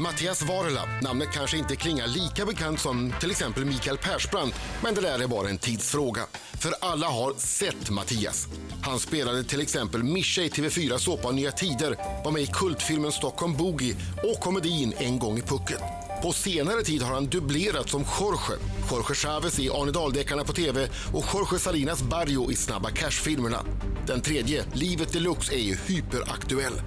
Mattias Varela. Namnet kanske inte klingar lika bekant som till exempel Mikael Persbrandt, men det där är bara en tidsfråga. För alla har sett Mattias. Han spelade till exempel Mischa i TV4 såpa Nya Tider, var med i kultfilmen Stockholm Boogie och komedin En gång i pucket. På senare tid har han dubblerat som Jorge. Jorge Chavez i Arne Dahl-deckarna på tv och Jorge Salinas Barrio i Snabba Cash-filmerna. Den tredje, Livet Deluxe, är ju hyperaktuell.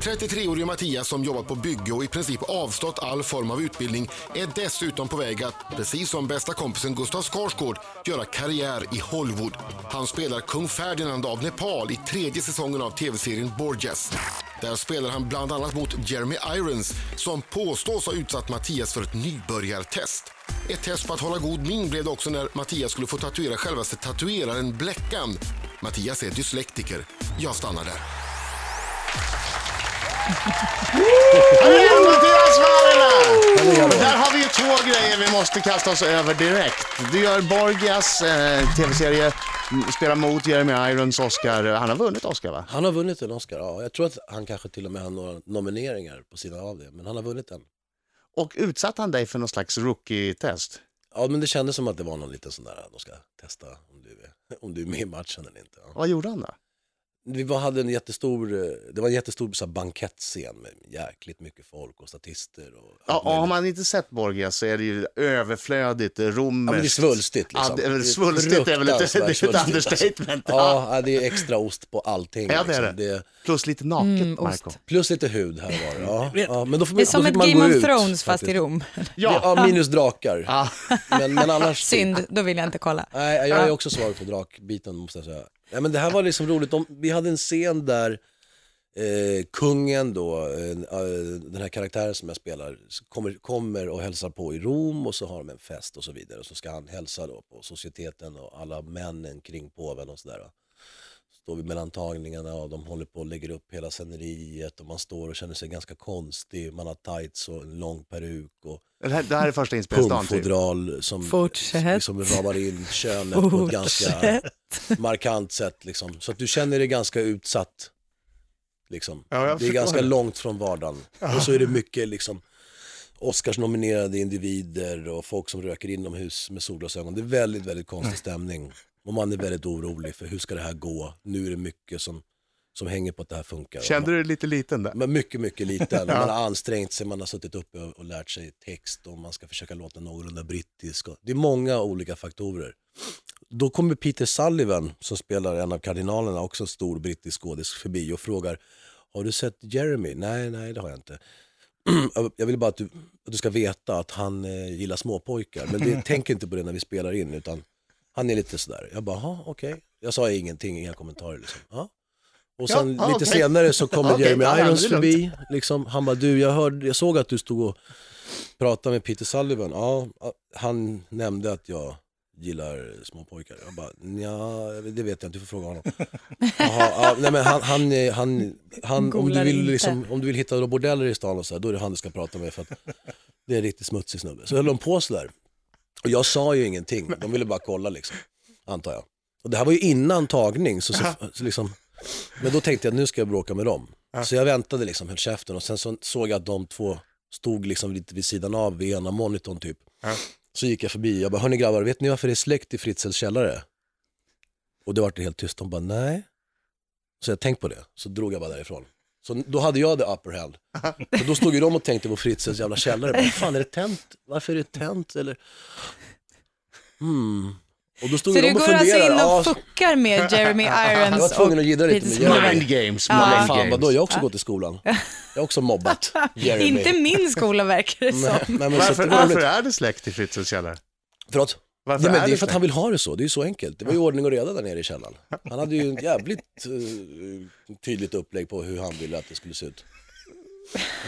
33-årige Mattias som jobbat på bygge och i princip avstått all form av utbildning är dessutom på väg att, precis som bästa kompisen Gustav Skarsgård, göra karriär i Hollywood. Han spelar kung Ferdinand av Nepal i tredje säsongen av tv-serien Borgias. Där spelar han bland annat mot Jeremy Irons som påstås ha utsatt Mattias för ett nybörjartest. Ett test på att hålla god min blev det också när Mattias skulle få tatuera självaste tatueraren Bleckan. Mattias är dyslektiker. Jag stannar där. Hallå, Mattias Varela! Där har vi ju två grejer vi måste kasta oss över direkt. Du gör Borgias eh, tv-serie, m- spelar mot Jeremy Irons Oscar. Han har vunnit Oscar va? Han har vunnit en Oscar, ja. Jag tror att han kanske till och med har några nomineringar på sidan av det, men han har vunnit en. Och utsatte han dig för någon slags rookie-test? Ja, men det kändes som att det var någon liten sån där, de ska testa om du är, om du är med i matchen eller inte. Ja. Vad gjorde han då? Vi var, hade en jättestor, eh, det var en jättestor så här, bankettscen med jäkligt mycket folk och statister. Och, Ja, allt och har möjligt. man inte sett Borgias så är det ju överflödigt, eh, romerskt. ja, men det är svulstigt liksom. Ja, det är väl Det är svulstigt är väl ett, det fruktansvärt är ett svulstigt, understatement. Ja. Ja, ja, det är extra ost på allting. liksom. Ja, det är det. Plus lite naket, Mm, ost. Marco. Plus lite hud här var det. Ja, Mm. ja, men då får man, Det är som då ett fick man Game gå of ut, Thrones fast faktiskt. i Rom. Ja, minus drakar. Ja. Men, men annars... typ. Synd, då vill jag inte kolla. Nej, jag är också svag för drakbiten måste jag säga. Nej, men det här var liksom roligt. De, vi hade en scen där eh, kungen då, eh, eh, den här karaktären som jag spelar, kommer, kommer och hälsar på i Rom och så har de en fest och så vidare. Och så ska han hälsa då på societeten och alla männen kring påven och sådär. va. Står vi mellan tagningarna och de håller på och lägger upp hela sceneriet och man står och känner sig ganska konstig. Man har tights och en lång peruk och Det här- Det här är första inspelningsdagen. Typ. pungfodral som Fortsätt. liksom ramar in könet på ett ganska Fortsätt. markant sätt. Liksom. Så att du känner dig ganska utsatt. Liksom. Ja, jag det är förstår ganska det. långt från vardagen. Och så är det mycket liksom, Oscars-nominerade individer och folk som röker inomhus med solglasögon. Det är väldigt, väldigt konstig stämning. Och man är väldigt orolig för hur ska det här gå? Nu är det mycket som, som hänger på att det här funkar. Kände du dig lite liten där? Men mycket, mycket liten. Man har ansträngt sig, man har suttit uppe och och lärt sig text och man ska försöka låta någorlunda brittisk. och- Det är många olika faktorer. Då kommer Peter Sullivan, som spelar en av kardinalerna, också en stor brittisk skådis, förbi och frågar Har du sett Jeremy? Nej, nej det har jag inte. Jag vill bara att du, att du ska veta att han eh, gillar småpojkar, men det, tänk inte på det när vi spelar in, utan han är lite sådär. Jag bara, "Jaha, okej. Jag sa ingenting, inga kommentarer liksom. Ja. Och Ja, sen ja, lite okej. senare så kommer Okej, Jeremy ja, ja, Irons det är lugnt. förbi. Liksom. Han bara, du jag, hörde, jag såg att du stod och pratade med Peter Sullivan. Ja, han nämnde att jag gillar små pojkar. Jag bara, ja, det vet jag inte, du får fråga honom. Jaha, ja, nej, men han, han, eh, han, han, om, du Googlar vill, inte. liksom, om du vill hitta några bordeller i stan och så här, då är det han du ska prata med för att det är en riktigt smutsig snubbe. Så höll de på sådär. Och jag sa ju ingenting, de ville bara kolla liksom, antar jag. Och det här var ju innan tagning, så, så, så liksom, men då tänkte jag att nu ska jag bråka med dem. Så jag väntade liksom, höll käften och sen så såg jag att de två stod liksom lite vid sidan av vid ena monitorn typ. Så gick jag förbi, jag bara, hörni grabbar, vet ni varför det är släkt i Fritzels källare? Och det vart det helt tyst, de bara, nej. Så jag tänkte på det, så drog jag bara därifrån. Så då hade jag the upper hand. Och då stod ju de och tänkte på Fritzels jävla källare. Vad fan är det tänt? Varför är det tänt? Eller... Hmm. Och då stod Så ju de du och går alltså in funderade. Ja, och fuckar med Jeremy jag var Irons tvungen att jiddra lite Peter med Sullivan. Jeremy. Mind games, Ja. mind Fan vadå, games. jag har också gått i skolan. Jag har också mobbat Jeremy. Inte min skola verkar det som. Nej, nej, men så att Varför, det var varför roligt. är det släkt i Fritzels källare? Förlåt? Varför Nej, men är det är det för att så? Ah. han vill ha det så, det är ju så enkelt. Det var ju ordning och reda där nere i källaren. Han hade ju ett jävligt eh, tydligt upplägg på hur han ville att det skulle se ut.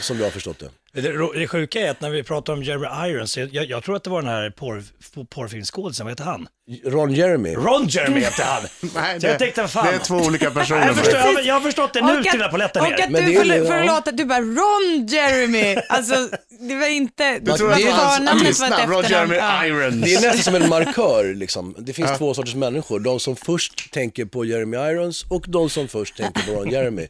Som jag har förstått det. Det, det sjuka är att när vi pratar om Jeremy Irons, jag, jag tror att det var den här porr, porrfilmsskådisen, vad heter han? Ron Jeremy. Ron Jeremy heter han! Nej, Så jag tänkte, vad fan. det är två olika personer. jag, förstår, Marco. jag, jag har förstått det nu Och att- till den här polletten Och här. att Men du det är ju- får, får ja. låta att du bara Ron Jeremy. Alltså, det var inte... Du tror att det är det hans var hans förnamnet var artistnamn, ett alltså Roger efternamn. Jeremy Ja. Irons. Det är nästan som en markör liksom. Det finns Ah. två sorters människor. De som först tänker på Jeremy Irons och de som först tänker på Ron Jeremy.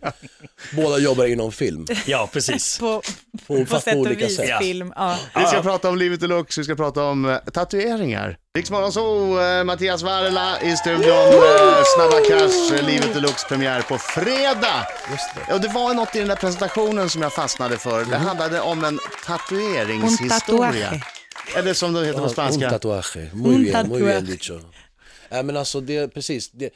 Båda jobbar inom film. Ja, precis. På, På, på fast på sätt och olika vis sätt. film. Ja. Vi ska prata om livet deluxe, vi ska prata om eh, tatueringar. Riksmorgon så eh, Mattias Varela i studion. eh, Snabba Cash, eh, livet deluxe premiär på fredag. Just det. Och det var något i den där presentationen som jag fastnade för. Det handlade om en Un tatueringshistoria. tatuaje. Eller som det heter på Un spanska. tatuaje. Muy Un bien, muy bien tatuaje. dicho. Nej men alltså, det, precis. Det,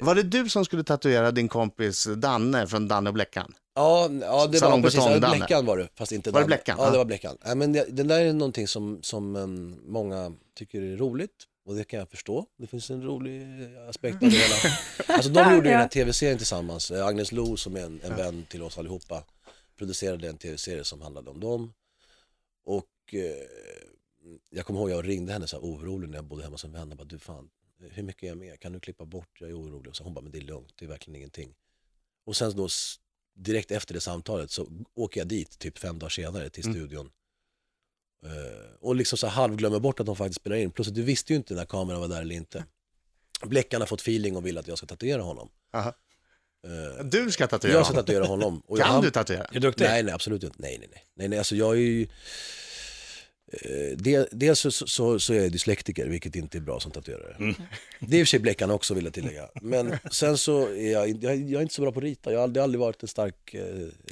Var det du som skulle tatuera din kompis Danne från Danne och Bleckan? Ja, n- ja det var Salong precis, ja, Betong-Danne. Bleckan var det, fast inte Var det Danne. Bleckan? Ja, Ja. det var Bleckan. Nej, men det, det där är någonting som, som em, många tycker är roligt och det kan jag förstå. Det finns en rolig eh, aspekt av det hela. Alltså de gjorde ju den här tv-serien tillsammans. Eh, Agnes Lo som är en, en vän till oss allihopa producerade en tv-serie som handlade om dem. Och eh, jag kommer ihåg jag ringde henne så här orolig när jag bodde hemma som vän och bara du fan, hur mycket är jag med? Kan du klippa bort? Jag är orolig. Och så hon bara, men det är lugnt, det är verkligen ingenting. Och sen då s- direkt efter det samtalet så åker jag dit typ fem dagar senare till Mm. studion. Eh, och liksom så här halvglömmer bort att de faktiskt spelar in. Plus att du visste ju inte när kameran var där eller inte. Bleckan har fått feeling och vill att jag ska tatuera honom. Aha. Eh, Du ska tatuera jag ska honom. tatuera honom. Och jag- Kan du tatuera? Är du duktig? Nej, nej, absolut inte. Nej, nej, nej. nej, nej alltså jag är ju... eh, de- Dels så, så, så är jag dyslektiker, vilket inte är bra som tatuerare. Mm. Det är i och för sig Bleckan också vill jag tillägga. Men sen så är jag, in- jag, jag är inte så bra på att rita. Jag har aldrig, aldrig varit en stark, eh,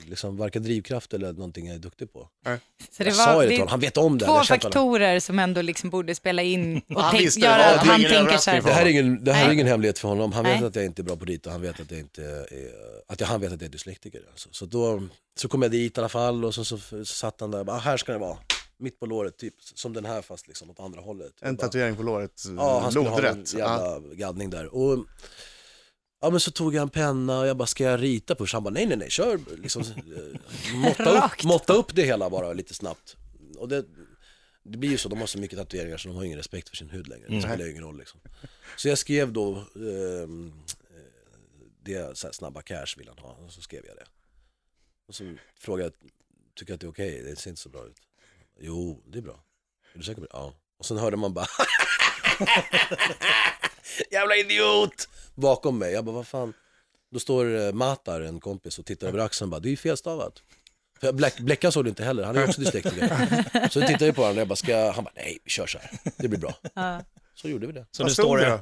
liksom, varken drivkraft eller någonting jag är duktig på. Så jag sa ju det är till honom, han vet om det. Två Jag känner honom. faktorer som ändå liksom borde spela in och Han tänk, visste det. göra Ja, att det är han ingen tänker så överraskning här. för Det här är honom. ingen, det här är Nej. ingen hemlighet för honom. Han vet Nej. att jag inte är bra på att rita, han vet att jag, inte är, att jag, han vet att jag är dyslektiker. Alltså. Så, då, så kom jag dit i alla fall och så, så, så satt han där och bara, "Ah, här ska det vara. Mitt på låret, typ som den här fast liksom åt andra hållet. Jag En bara, tatuering på låret, eh, Ja, han skulle ha en lodrätt. Ja. jävla gaddning där. Och, ja, men så tog jag en penna och jag bara, ska jag rita först? Han bara, nej nej nej, kör liksom, eh, måtta, upp, Rakt. måtta upp det hela bara lite snabbt. Och det, det blir ju så, de har så mycket tatueringar så de har ingen respekt för sin hud längre. Mm. Det spelar ju ingen roll liksom. Så jag skrev då, ehm, eh, det så här, snabba cash vill han ha, och så skrev jag det. Och så frågade jag, tycker jag att det är okej? Det ser inte så bra ut. Jo, det är bra. Är du säker på det? Ja. Och sen hörde man bara Jävla idiot! Bakom mig. Jag bara, vad fan. Då står eh, Matar, en kompis, och tittar över axeln och bara, det är ju felstavat. För jag Black, Bleckan såg det inte heller, han är ju också dyslektiker. Så vi tittade ju på varandra och jag bara, ska jag? Han bara, nej vi kör så här, det blir bra. Ja. Så gjorde vi det. Så Vad nu stod står det det. då?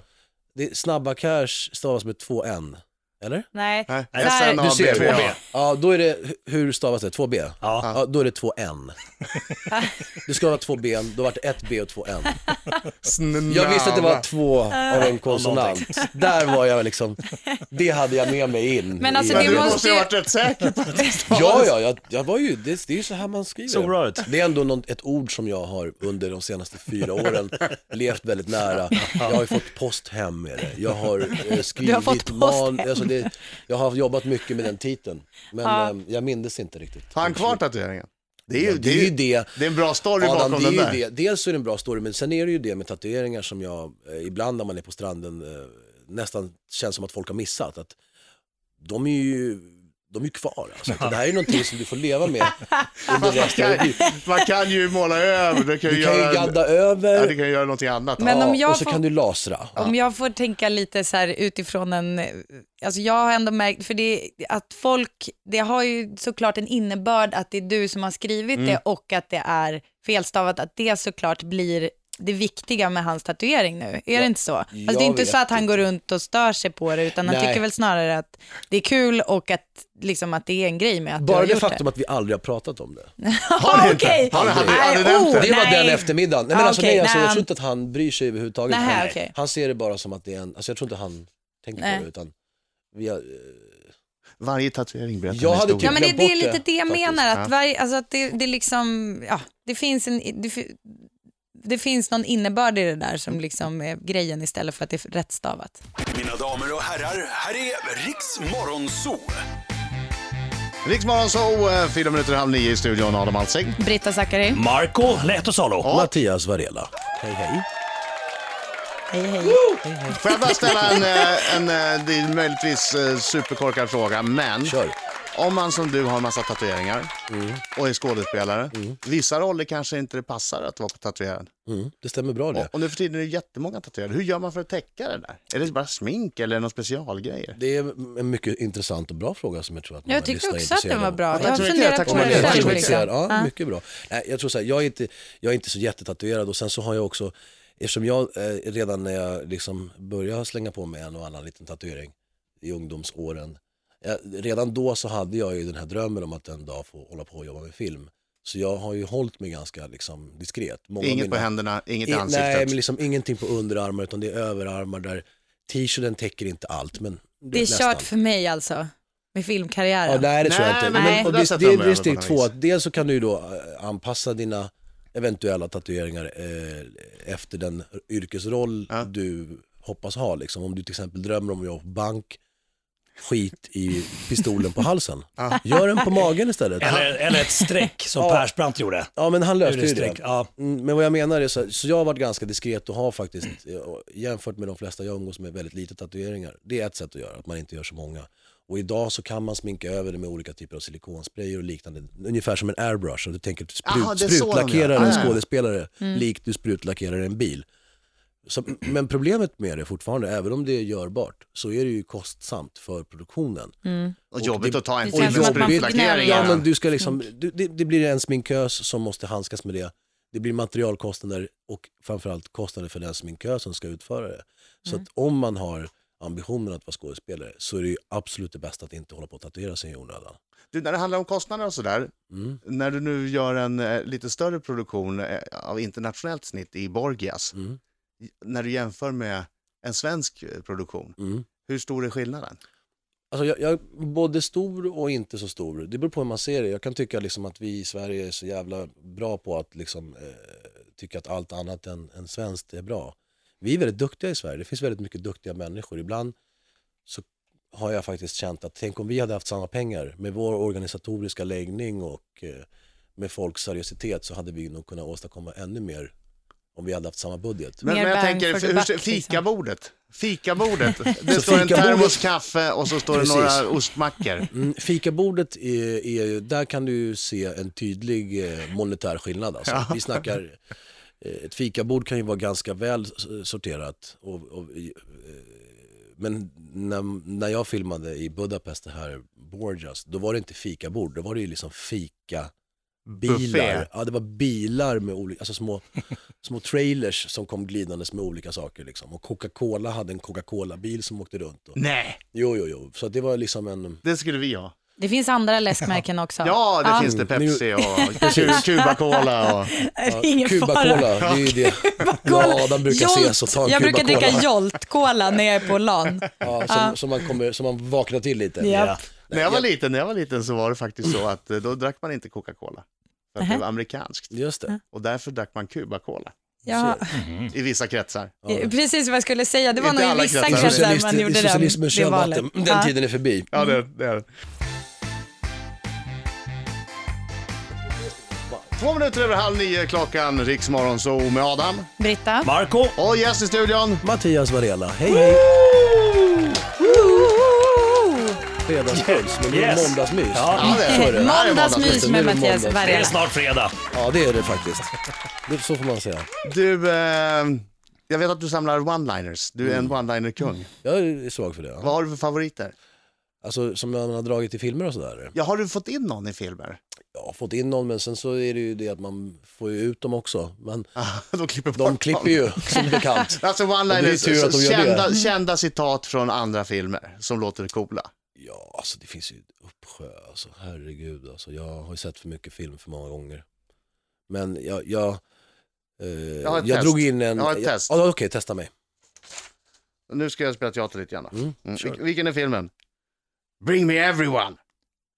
det snabba cash stavas med två n, eller? Nej, Nej, Så här- SNAB. ser, tror jag. två B. Ja, då är det, hu- hur stavas det? 2B? Ja. Ja, då är det 2N. Det ska vara två ben, då vart det ett B och två N. Snabba. Jag visste att det var två av en konsonant. Där var jag liksom, det hade jag med mig in. Men alltså, i- Men Det du måste måste ju ha ju- varit rätt säker på att det stavades. Ja, ja, jag, jag var ju, det, det är ju så här man skriver. Såg bra ut. Det är ändå någon, ett ord som jag har under de senaste fyra åren levt väldigt nära. Jag har ju fått post hem med det. Jag har eh, skrivit fått post man, hem. alltså det, jag har jobbat mycket med den titeln. Men Ja. eh, jag mindes inte riktigt. Har han kvar tatueringen? Det är ju, Ja, det är ju det. det är en bra story Adam, bakom det är den ju där. det. Dels så är det en bra story, men sen är det ju det med tatueringar som jag, eh, ibland när man är på stranden, eh, nästan känns som att folk har missat. Att de är ju, de är ju kvar alltså. Det här är ju någonting som du får leva med under Man resten av ditt kan, liv. man kan ju måla över, du kan ju, Du kan ju göra, gadda ja, du över kan ju göra någonting annat. Men om ja, jag och så får- kan du lasra. Om jag får tänka lite så här utifrån en, alltså jag har ändå märkt, för det att folk, det har ju såklart en innebörd att det är du som har skrivit det och att det är felstavat, att det såklart blir det viktiga med hans tatuering nu. Är det inte så? Alltså det jag är inte vet så att han går runt och stör sig på det, utan Nej. han tycker väl snarare att det är kul och att, liksom, att det är en grej med att du Bara har det gjort faktum att vi aldrig har pratat om det. det. Har ni inte? Okej. Har ni- har ni- Nej, har ni nämnt oh, det? Det var nej. den eftermiddagen. Nej, men Ah, alltså, okej, nej, alltså, nej, jag han- tror inte att han bryr sig överhuvudtaget. Nähä, han, okej. han ser det bara som att det är en, alltså, jag tror inte han tänker Nej. på det. Utan vi har, eh, Varje tatuering berättar Jag en hade historia. Ja men det, glömt det är bort det, lite det jag faktiskt. menar, Ja. att, varje, alltså att det, det liksom, ja, det finns en, det, fi- det finns någon innebörd i det där som liksom är grejen istället för att det är rättstavat. Mina damer och herrar, här är Riks Morgonzoo. Riksmorgon så, eh, fyra minuter i halv nio i studion, Adam Alsing. Britta Zackari, Marco Lehtosalo. Mattias Varela. Hej hej. hej hej. Får jag bara ställa en, eh, en, eh, det är möjligtvis eh, superkorkad fråga, men Kör. om man som du har en massa tatueringar Mm. och är skådespelare, vissa roller kanske inte det passar att vara tatuerad. Mm, det stämmer bra det. Och, och nu för tiden är det jättemånga tatuerade. Hur gör man för att täcka det där? Är det bara smink eller är det någon specialgrejer? Det är en mycket intressant och bra fråga som jag tror att många Jag tycker lyssnare är också att den intresserade var av. bra. tack Jag har så mycket, funderat tack så på den mycket. Tack så själv. mycket. Liksom. Ja, Ja. mycket bra. Nej, jag tror så här, jag är, inte, jag är inte så jättetatuerad och sen så har jag också, eftersom jag eh, redan när jag liksom började slänga på mig en och annan liten tatuering i ungdomsåren, jag, redan då så hade jag ju den här drömmen om att en dag få hålla på och jobba med film. Så jag har ju hållit mig ganska liksom, diskret. Många av Inget mina- på händerna, inget i I- ansiktet. Nej, men liksom ingenting på underarmar utan det är överarmar där t-shirten täcker inte allt. Men Det är kört för mig alltså, med Ja, filmkarriären. nej, det tror jag Nej, inte. men på Men, det det, sättet det, de det gör är steg på två. något Att dels så kan du ju då eh, anpassa dina eventuella tatueringar eh, efter den yrkesroll Ja. du hoppas ha. Liksom. Om du till exempel drömmer om att jobba på bank, skit i pistolen på halsen. Gör den på magen istället. Eller, eller ett streck som Ja. Persbrandt gjorde. Ja men han löste ju Urstreck, det. ja. Mm, Men vad jag menar är så, här, så jag har varit ganska diskret och har faktiskt, eh, och jämfört med de flesta jag umgås med, väldigt lite tatueringar. Det är ett sätt att göra, att man inte gör så många. Och idag så kan man sminka över det med olika typer av silikonsprayer och liknande. Ungefär som en airbrush, om du tänker att du sprut, Jaha, det är så de gör. sprutlackerar Ah, Mm. en ja. skådespelare likt du sprutlackerar en bil. Så, men problemet med det fortfarande, även om det är görbart, så är det ju kostsamt för produktionen. och jobbigt det- att ta en Det känns timme som att man sprullackering. gnäller. Ja, men du ska liksom, du, det, det blir en sminkös som måste handskas med det. Det blir materialkostnader och framförallt kostnader för den sminkös som ska utföra det. Så att om man har ambitionen att vara skådespelare så är det ju absolut det bästa att inte hålla på att tatuera sig i Mm, onödan. Du, när det handlar om kostnader och sådär, när du nu gör en eh, lite större produktion eh, av internationellt snitt i Borgias, mm, j- när du jämför med en svensk eh, produktion, Mm. hur stor är skillnaden? Alltså jag, jag, både stor och inte så stor. Det beror på hur man ser det. Jag kan tycka liksom att vi i Sverige är så jävla bra på att liksom, eh, tycka att allt annat än, än svenskt är bra. Vi är väldigt duktiga i Sverige. Det finns väldigt mycket duktiga människor. Ibland så har jag faktiskt känt att tänk om vi hade haft samma pengar med vår organisatoriska läggning och eh, med folks seriositet så hade vi nog kunnat åstadkomma ännu mer om vi hade haft samma budget. Men, Mer men jag bang tänker, for the hur buck, ser- liksom. fikabordet, fikabordet, det Så står en fikabordet- termos kaffe och så står det Precis. några ostmackor. Mm, fikabordet, är, är, ju- där kan du ju se en tydlig eh, monetär skillnad. Alltså. Vi snackar, eh, ett fikabord kan ju vara ganska väl s- sorterat. Och, och, i- eh, men när, när jag filmade i Budapest, det här Borgias, då var det inte fikabord, då var det ju liksom fika Buffé. bilar. Ja, det var bilar med olika, alltså små, små trailers som kom glidandes med olika saker. Liksom. Och Coca-Cola hade en Coca-Cola-bil som åkte runt. Och, Nej, jo, jo, jo. Så att det var liksom en... det skulle vi ha. Det finns andra läskmärken också. Ja, det Ja. finns det Mm, nu- Pepsi och Cu- Cuba-Cola och... Nej, det är ingen Cuba-cola, fara. det är ju det. Jag och Adam brukar ses och ta en Jag brukar Cuba-Cola. dricka Jolt-cola när jag är på LAN. Ja, som, som, man kommer, som man vaknar till lite. Japp. När jag var liten, när jag var liten så var det faktiskt så att eh, då drack man inte Coca-Cola. För att det var amerikanskt. Just det. Och därför drack man Cuba-Cola. Ja, I vissa kretsar. precis vad jag skulle säga. Det var Inte nog alla i vissa kretsar. kretsar Socialist, man gjorde socialismen den, det kör valet. vatten. Den Ja. tiden är förbi. Ja, det, det är det. Två minuter över halv nio klockan, Riksmorgon så med Adam. Britta. Marco Och gäst i studion. Mattias Varela, hej hej! Fredagspuls, men det är Yes. måndagsmys. Ja. det är det. Måndagsmys med Mattias Det är Varela. snart fredag. Ja, det är det faktiskt. Det, så får man säga. Du, eh, jag vet att du samlar one-liners. Du är en one-liner-kung. Jag är svag för det. ja. Vad har du för favoriter? Alltså, som man har dragit i filmer och sådär. Ja, har du fått in någon i filmer? Jag har fått in någon, men sen så är det ju det att man får ju ut dem också. Men De klipper bort de dem. klipper ju, som bekant. Alltså Och det är tur att de one-liners, gör det. Mm. kända, kända citat från andra filmer som låter coola. Ja, alltså det finns ju en uppsjö, alltså herregud. Alltså, jag har ju sett för mycket film för många gånger. Men jag, jag, eh, har ett jag, test. drog in en... Jag har ett test. Ja, Okej, testa mig. Nu ska jag spela teater lite grann. då. Mm. Vil- vilken är filmen? Bring me everyone.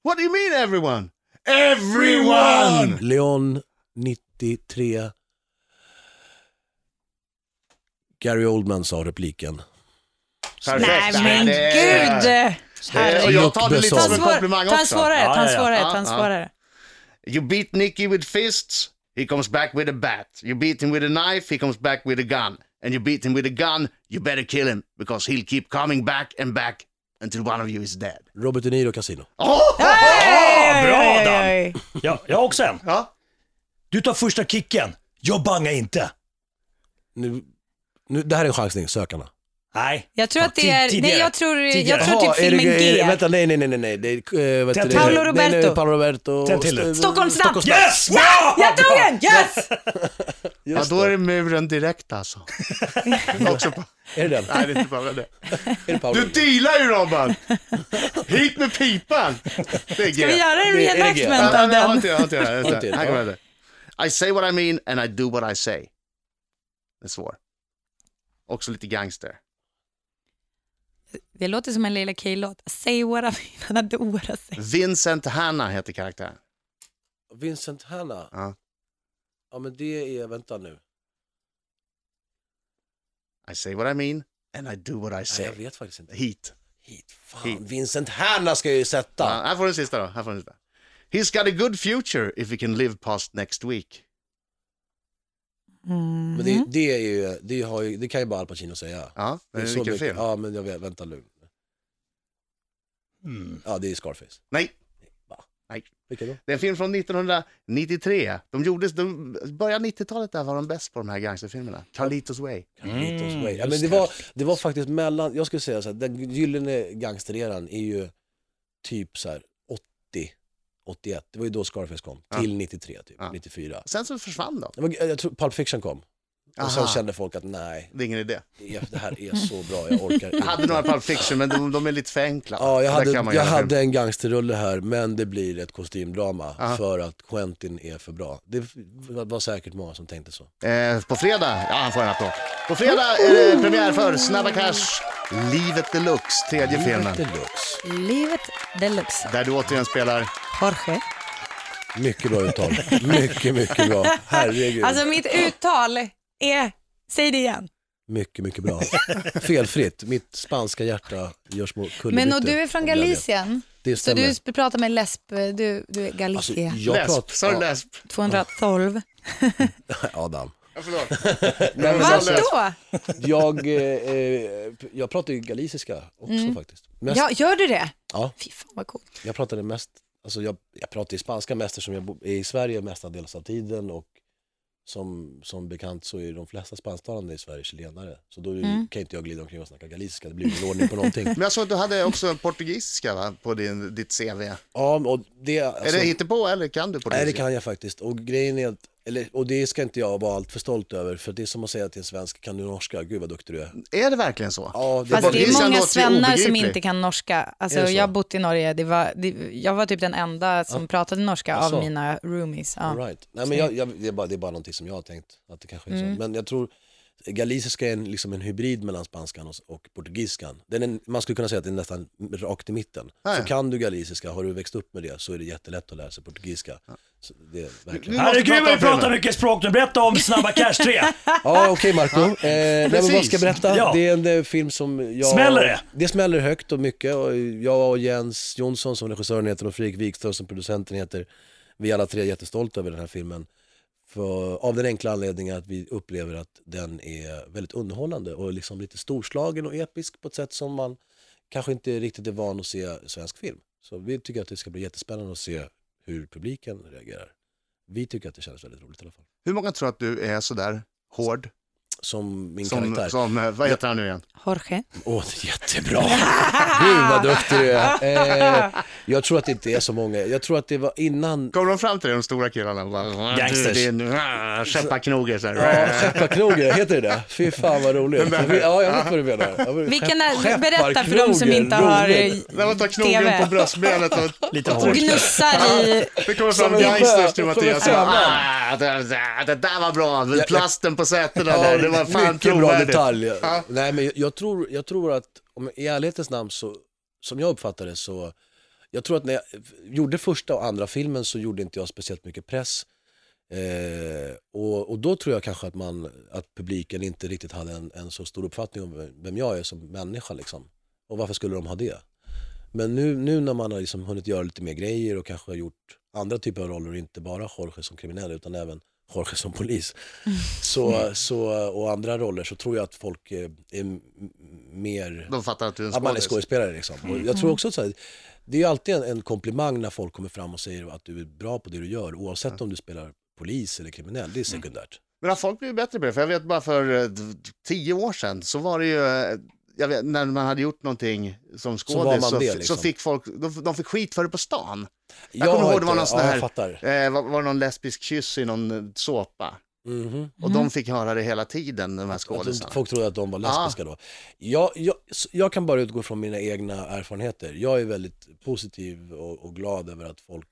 What do you mean everyone? Everyone! Leon 93. Gary Oldman sa repliken. Nej Perfekt. men Det- gud! Det- Och jag tar det lite Ta som en en svår- komplimang ta en också. Ja, svårare, ta en ja, ja. svårare, Ja, ta en ja. svårare. You beat Nicky with fists, he comes back with a bat. You beat him with a knife, he comes back with a gun. And you beat him with a gun, you better kill him because he'll keep coming back and back until one of you is dead. Robert De Niro Casino. bra, Dan. oj. Ja, jag har också en. Ja. Du tar första kicken. Jag bangar inte. Nu, nu, det här är en chansning, sökarna. Nej. Jag tror att det Tid- är, nej tidigare. jag tror, jag Tidigare. tror typ Jaha, är det- filmen är det- G. Vänta, nej, nej, nej, nej, nej. Det är, eh, vad heter Tänk det? till. Nej, Paolo nej, Roberto. Paolo Roberto. Tänk till det. Stockholmsnatt. Yes! Wow! Jag tog den! Yes! ja, då är det muren direkt alltså. Också på... Är det den? Nej, det är inte bara det. Är det Paolo? Du dealar ju Robban! Hit med pipan! Det är Ska vi grej. göra en Det är- är det G? reenactment Nej, av nej, jag har den? inte- jag har inte- jag har inte- Har inte, Här ja. kommer det. I say what I mean and I do what I say. Det är svår. Också lite gangster. Det låter som en Lilla K-låt. Say what I mean and I do what I say. Vincent Hanna heter karaktären. Vincent Hanna. Ja. Ja, men det är, vänta nu. I say what I mean and I do what I Nej, jag say. vet faktiskt inte. Hit. Hit, fan. Hit. Vincent Hanna ska jag ju sätta. Ja, här får du den sista då. Här får du den sista. He's got a good future if he can live past next week. Men det, det, är ju, det, har ju, det kan ju bara Al Pacino säga. Ja, det är så vilken film. Ja, men jag vet, vänta nu. Mm. Ja, det är Scarface. Nej, Vilken då? det är en film från 1993. De gjordes, de, början 90-talet där var de bäst på de här gangsterfilmerna. Carlitos Way. Mm. Carlitos Way. Ja, just men det, det. var, det var faktiskt mellan, jag skulle säga så här, den gyllene gangstereran är ju typ så här 80, 81. Det var ju då Scarface kom, Ja. till 93 typ, Ja. 94. Sen så försvann de. Det var, jag tror Pulp Fiction kom. Och sen Aha. kände folk att nej, Det är ingen idé. det är- det här är så bra, jag orkar Jag hade några Pulp Fiction, men de, de är lite för enkla. Ja, jag Där hade, kan man jag göra hade en gangsterrulle här, men det blir ett kostymdrama Ja. för att Quentin är för bra. Det var var säkert många som tänkte så. film. Eh, på fredag, ja han får en applåd. På fredag är det premiär för Snabba Cash, Livet Deluxe, tredje filmen. Deluxe. Livet deluxe. Där du återigen spelar... Jorge. Mycket bra uttal. Mycket, mycket bra. Herregud. Alltså mitt uttal är, säg det igen. Mycket, mycket bra. Felfritt. Mitt spanska hjärta gör små kullerbyttor. Men och du är från av glädje. Galicien, Det så du stämmer. sp- pratar med lesb, du, du är Alltså, Galicia. jag läsp, sa du pratar... läsp? 212. Ja, Adam. Ja, förlåt. Nej, men Vad alltså, då? jag, eh, eh, jag pratar ju galiciska också faktiskt. Mest, Mm. Ja, gör du det? Ja. Fy fan vad coolt. Jag pratade mest, alltså jag, jag pratade ju spanska mest eftersom jag bo- är i Sverige mestadels av tiden och som, som bekant så är de flesta spansktalande i Sverige chilenare. Så då är det- Mm. kan inte jag glida omkring och snacka galiciska, det blir ingen ordning på någonting. Men jag såg att du hade också portugisiska va? på din, ditt CV. Ja, och det, alltså, är det hittepå eller kan du Nej, det portugisiska? kan jag faktiskt. Och grejen är att, eller, och det ska inte jag vara alltför stolt över, för det är som att säga till en svensk, kan du norska? Gud vad duktig du är. Är det verkligen så? Ja, det, Fast det Galicia är många låter ju svennar som obegriplig. inte kan norska. Alltså, Är det så? jag har bott i Norge, det var, det, jag var typ den enda som pratade norska Alltså. av mina roomies. Ja. All right. Nej, men jag, jag, det, är bara, det är bara någonting som jag har tänkt att det kanske är så. Men jag tror galiciska är en, liksom en hybrid mellan spanskan och, och portugiskan. Den är, man skulle kunna säga att den är nästan rakt i mitten. Ah, ja. Så kan du galiciska, har du växt upp med det så är det jättelätt att lära sig portugisiska. Så det är verkligen. Nu måste vi Herregud prata vad om vi pratar filmen. mycket språk nu. Berätta om Snabba Cash 3. Ja, okej Marco. Eh, nej, men vad ska Precis. jag berätta? Ja. Det är en eh, film som jag... Smäller det? Det smäller högt och mycket. Och jag och Jens Jonsson som regissören heter och Fredrik Wikström som producenten heter. Vi är alla tre jättestolta över den här filmen. För, av den enkla anledningen att vi upplever att den är väldigt underhållande och liksom lite storslagen och episk på ett sätt som man kanske inte riktigt är van att se svensk film. Så vi tycker att det ska bli jättespännande att se hur publiken reagerar. Vi tycker att det känns väldigt roligt i alla fall. Hur många tror att du är sådär hård? Som min Som, karaktär. som, eh, vad heter han nu igen? Jorge. Åh, det är jättebra! Gud vad duktig du är! Eh, jag tror att det inte är så många. Jag tror att det var innan... Kommer de fram till dig, de stora killarna? och bara, Gangsters. "Du, det är en- Skepparknoge så Ja, här. Skepparknoge, heter det det? Fy fan vad roligt. Ja, jag vet vad du menar. Ja, men Vilken är, Skepp- berätta för de som inte har roligt. När man tar knogen TV. på bröstbenet och... Lite och hårt. gnussar i... Det kommer fram Som en gangsters bög, till och Mattias. kommer fram Ah, det, det- det där var bra, plasten på sätena Ja, där, det var fan mycket bra trovärdigt. detalj. Ja. Nej, men jag- jag tror, jag tror att, om, i ärlighetens namn, så, som jag uppfattar det så, jag tror att när jag gjorde första och andra filmen så gjorde inte jag speciellt mycket press. Eh, och, och då tror jag kanske att, man, att publiken inte riktigt hade en, en så stor uppfattning om vem- vem jag är som människa. Liksom. Och varför skulle de ha det? Men nu, nu när man har liksom hunnit göra lite mer grejer och kanske har gjort andra typer av roller, inte bara Jorge som kriminell utan även Jorge som polis, så, så, och andra roller så tror jag att folk eh, är m- mer... De fattar att du är en Att man är skådis. skådespelare liksom. Och jag tror också att så här, det är ju alltid en, en komplimang när folk kommer fram och säger att du är bra på det du gör, oavsett om du spelar polis eller kriminell, det är sekundärt. Men har folk blivit bättre på det? För jag vet bara för eh, d- tio år sedan så var det ju, eh, jag vet, när man hade gjort någonting som var man skådis så, det, f- liksom. så fick folk, de, de fick skit för det på stan. Jag, Jag kommer har ihåg det var inte- någon sån ja, jag här, fattar. eh, var, var det någon lesbisk kyss i någon eh, såpa. Mhm. Och Mm. de fick höra det hela tiden, de här Att de- skådisarna. Ah. folk trodde att de var lesbiska då. Jag, jag, s- jag kan bara utgå från mina egna erfarenheter. Jag är väldigt positiv och, och glad över att folk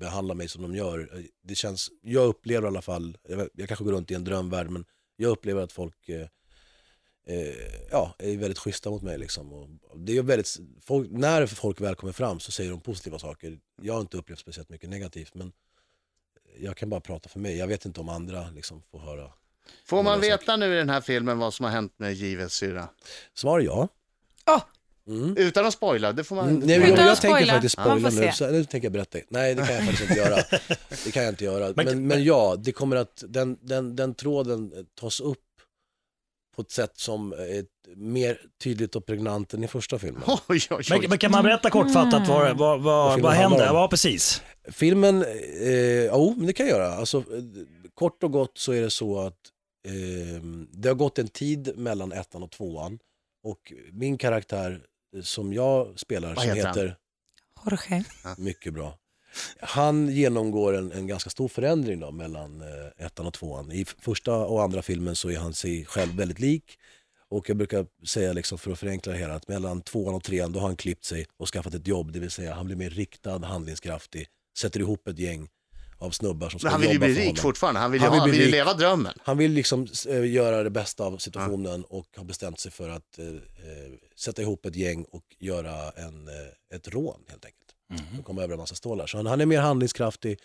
behandlar mig som de gör. Det känns, jag upplever i alla fall, jag, vet- jag kanske går runt i en drömvärld, men jag upplever att folk eh, eh, ja, är väldigt schyssta mot mig. Liksom. Och det är väldigt, folk, när folk väl kommer fram så säger de positiva saker. Jag har inte upplevt speciellt mycket negativt, men jag kan bara prata för mig. Jag vet inte om andra liksom, får höra. Får man Mm, veta nu i den här filmen vad som har hänt med Jives syrra? Svar ja. Åh, Utan att spoila, det får man Mm, inte. Nej, Utan jag, att jag tänker spoila. faktiskt Ja, man spoila får nu, se. så, nu tänker jag berätta. Nej, det kan jag faktiskt inte göra. Det kan jag inte göra. Men- Men, men, ja, det kommer att, den, den, den tråden eh, tas upp på ett sätt som är mer tydligt och pregnant än i första filmen. Oj, oj, oj. Men, men kan man berätta kortfattat vad, vad, vad, filmen vad hände? handlar om. Ja, precis. Filmen, eh, ja, oh, men det kan jag göra. Alltså, eh, kort och gott så är det så att eh, det har gått en tid mellan ettan och tvåan och min karaktär eh, som jag spelar, Vad som heter han? heter Jorge. Mycket bra. Han genomgår en, en ganska stor förändring då, mellan eh, ettan och tvåan. I f- första och andra filmen så är han sig själv väldigt lik. Och jag brukar säga, liksom, för att förenkla det hela, att mellan tvåan och trean då har han klippt sig och skaffat ett jobb. Det vill säga han blir mer riktad, handlingskraftig, sätter ihop ett gäng av snubbar som ska Men han jobba vill ju bli för rik honom. fortfarande, han vill ju, Han vill ha, han bli vill ju rik. leva drömmen. Han vill liksom eh, göra det bästa av situationen och har bestämt sig för att eh, eh, sätta ihop ett gäng och göra en, eh, ett rån helt enkelt. Och komma över en massa stålar. Så han, han är mer handlingskraftig,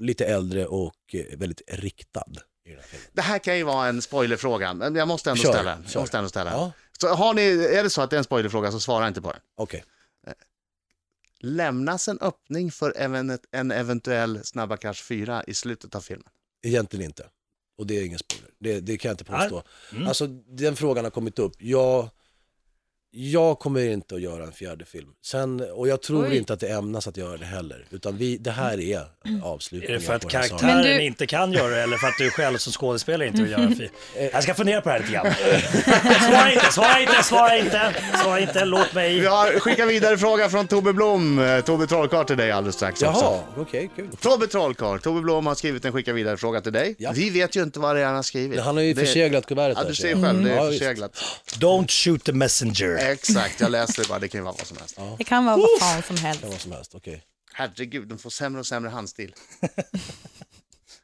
lite äldre och eh, väldigt riktad. I den här filmen. Det här kan ju vara en spoilerfråga, men jag måste ändå Kör, ställa den. Jag kör. måste ändå ställa den. Ja, Så har ni, är det så att det är en spoilerfråga så svara inte på den. okej. Lämnas en öppning för even, en eventuell Snabba Cash 4 i slutet av filmen? Egentligen inte. Och det är ingen spoiler. Det, det kan jag inte Nej. påstå. Mm. Alltså den frågan har kommit upp. Jag, jag kommer inte att göra en fjärde film. Sen, och jag tror Oj. inte att det ämnas att göra det heller. Utan vi, det här är Är avslutningen det för att på den här sagan. karaktären Men du- inte kan göra det eller för att du själv som skådespelare inte vill göra en film? Jag ska fundera på det här lite grann. Svara inte, svara inte, svara inte, svara inte, låt mig. Vi har skickat vidare fråga från Tobbe Blom, eh, Tobbe Trollkarl till dig alldeles strax också. Jaha, okej, kul. Tobbe Trollkarl, Tobbe Blom har skrivit en skicka vidare fråga till dig. Ja. Vi vet ju inte vad det är han har skrivit. Han har ju Det- förseglat kuvertet. Ja, där, du ser ser jag. själv, det Ja, är visst. förseglat. Don't shoot the messenger. Exakt, jag läser det bara, det kan ju vara vad som helst. Det kan vara vad fan som helst. Kan vara som helst, okej. Herregud, de får sämre och sämre handstil.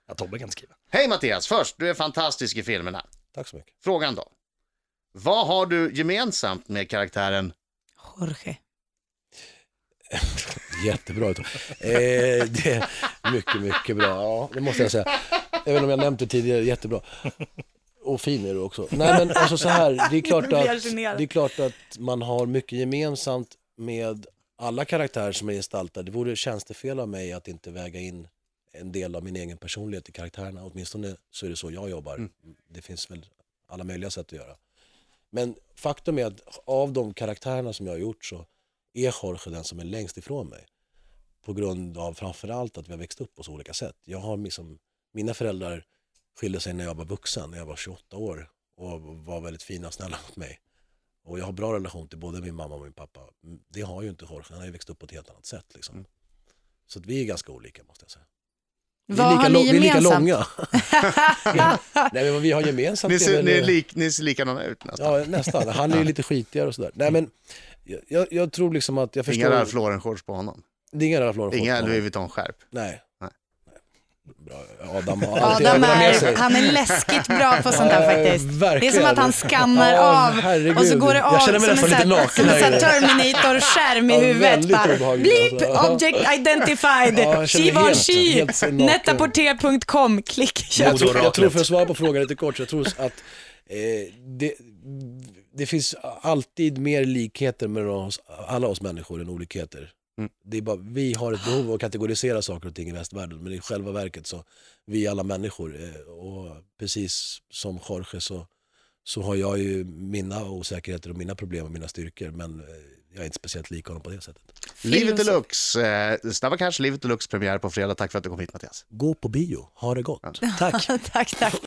Ja, Tobbe kan skriva. Hej Mattias, först, du är fantastisk i filmerna. Tack så mycket. Frågan då. Vad har du gemensamt med karaktären? Jorge. Jättebra utav eh, det, Mycket, mycket bra. Ja, det måste jag säga. Även om jag nämnt det tidigare, jättebra. Och fin är du också. Nej men alltså så här, det är klart blir jag att, generad. det är klart att man har mycket gemensamt med alla karaktärer som är gestaltade. Det vore tjänstefel av mig att inte väga in en del av min egen personlighet i karaktärerna. Åtminstone så är det så jag jobbar. Det finns väl alla möjliga sätt att göra. Men faktum är att av de karaktärerna som jag har gjort så är Jorge den som är längst ifrån mig. På grund av framförallt att vi har växt upp på så olika sätt. Jag har liksom, mina föräldrar skilde sig när jag var vuxen, när jag var 28 år och var väldigt fina och snälla mot mig. Och jag har bra relation till både min mamma och min pappa. Det har ju inte Jorge, han har ju växt upp på ett helt annat sätt. Liksom. Mm. Så att vi är ganska olika måste jag säga. Vi är Vad har lång- ni vi är lika gemensamt? långa. Nej men vad vi har gemensamt Ni ser, väl- ni är lik, ni ser likadana ut nästan. Ja, nästan. Han är ju lite skitigare och sådär. Nej, men jag- jag, jag tror liksom att jag förstår... Inga Ralph Lauren-shorts på honom. Det är inga Ralph Lauren. Inga Nej. Louis Vuitton-skärp. Nej. Nej. Bra. Adam har alltid Adam ögonen med sig. är, han är läskigt bra på sånt där Eh, faktiskt. Det är verkligen. som att han skannar Ja, av herregud. och så går det Jag av känner mig som nästan en lite sån här- naken som en här sån här inne. Terminator-skärm i Ja, huvudet. väldigt Bara, obehagligt, Bleep, alltså. object identified, Ja, jag känner she mig var helt- she, helt naken. netaporter.com, klick, Jag köp. tror, jag tror, Odoraklet. för att svara på frågan lite kort, så jag tror att eh, det, det finns alltid mer likheter mellan oss, alla oss människor än olikheter. Mm. Det är bara, vi har ett behov av att kategorisera saker och ting i västvärlden, men i själva verket så, vi är alla människor. eh, Och precis som Jorge så, så har jag ju mina osäkerheter och mina problem och mina styrkor, men eh, jag är inte speciellt lik honom på det sättet. Livet Deluxe, eh, Snabba Cash, Livet Deluxe premiär på fredag. Tack för att du kom hit Mattias. Gå på bio, ha det gott. Tack. tack, tack.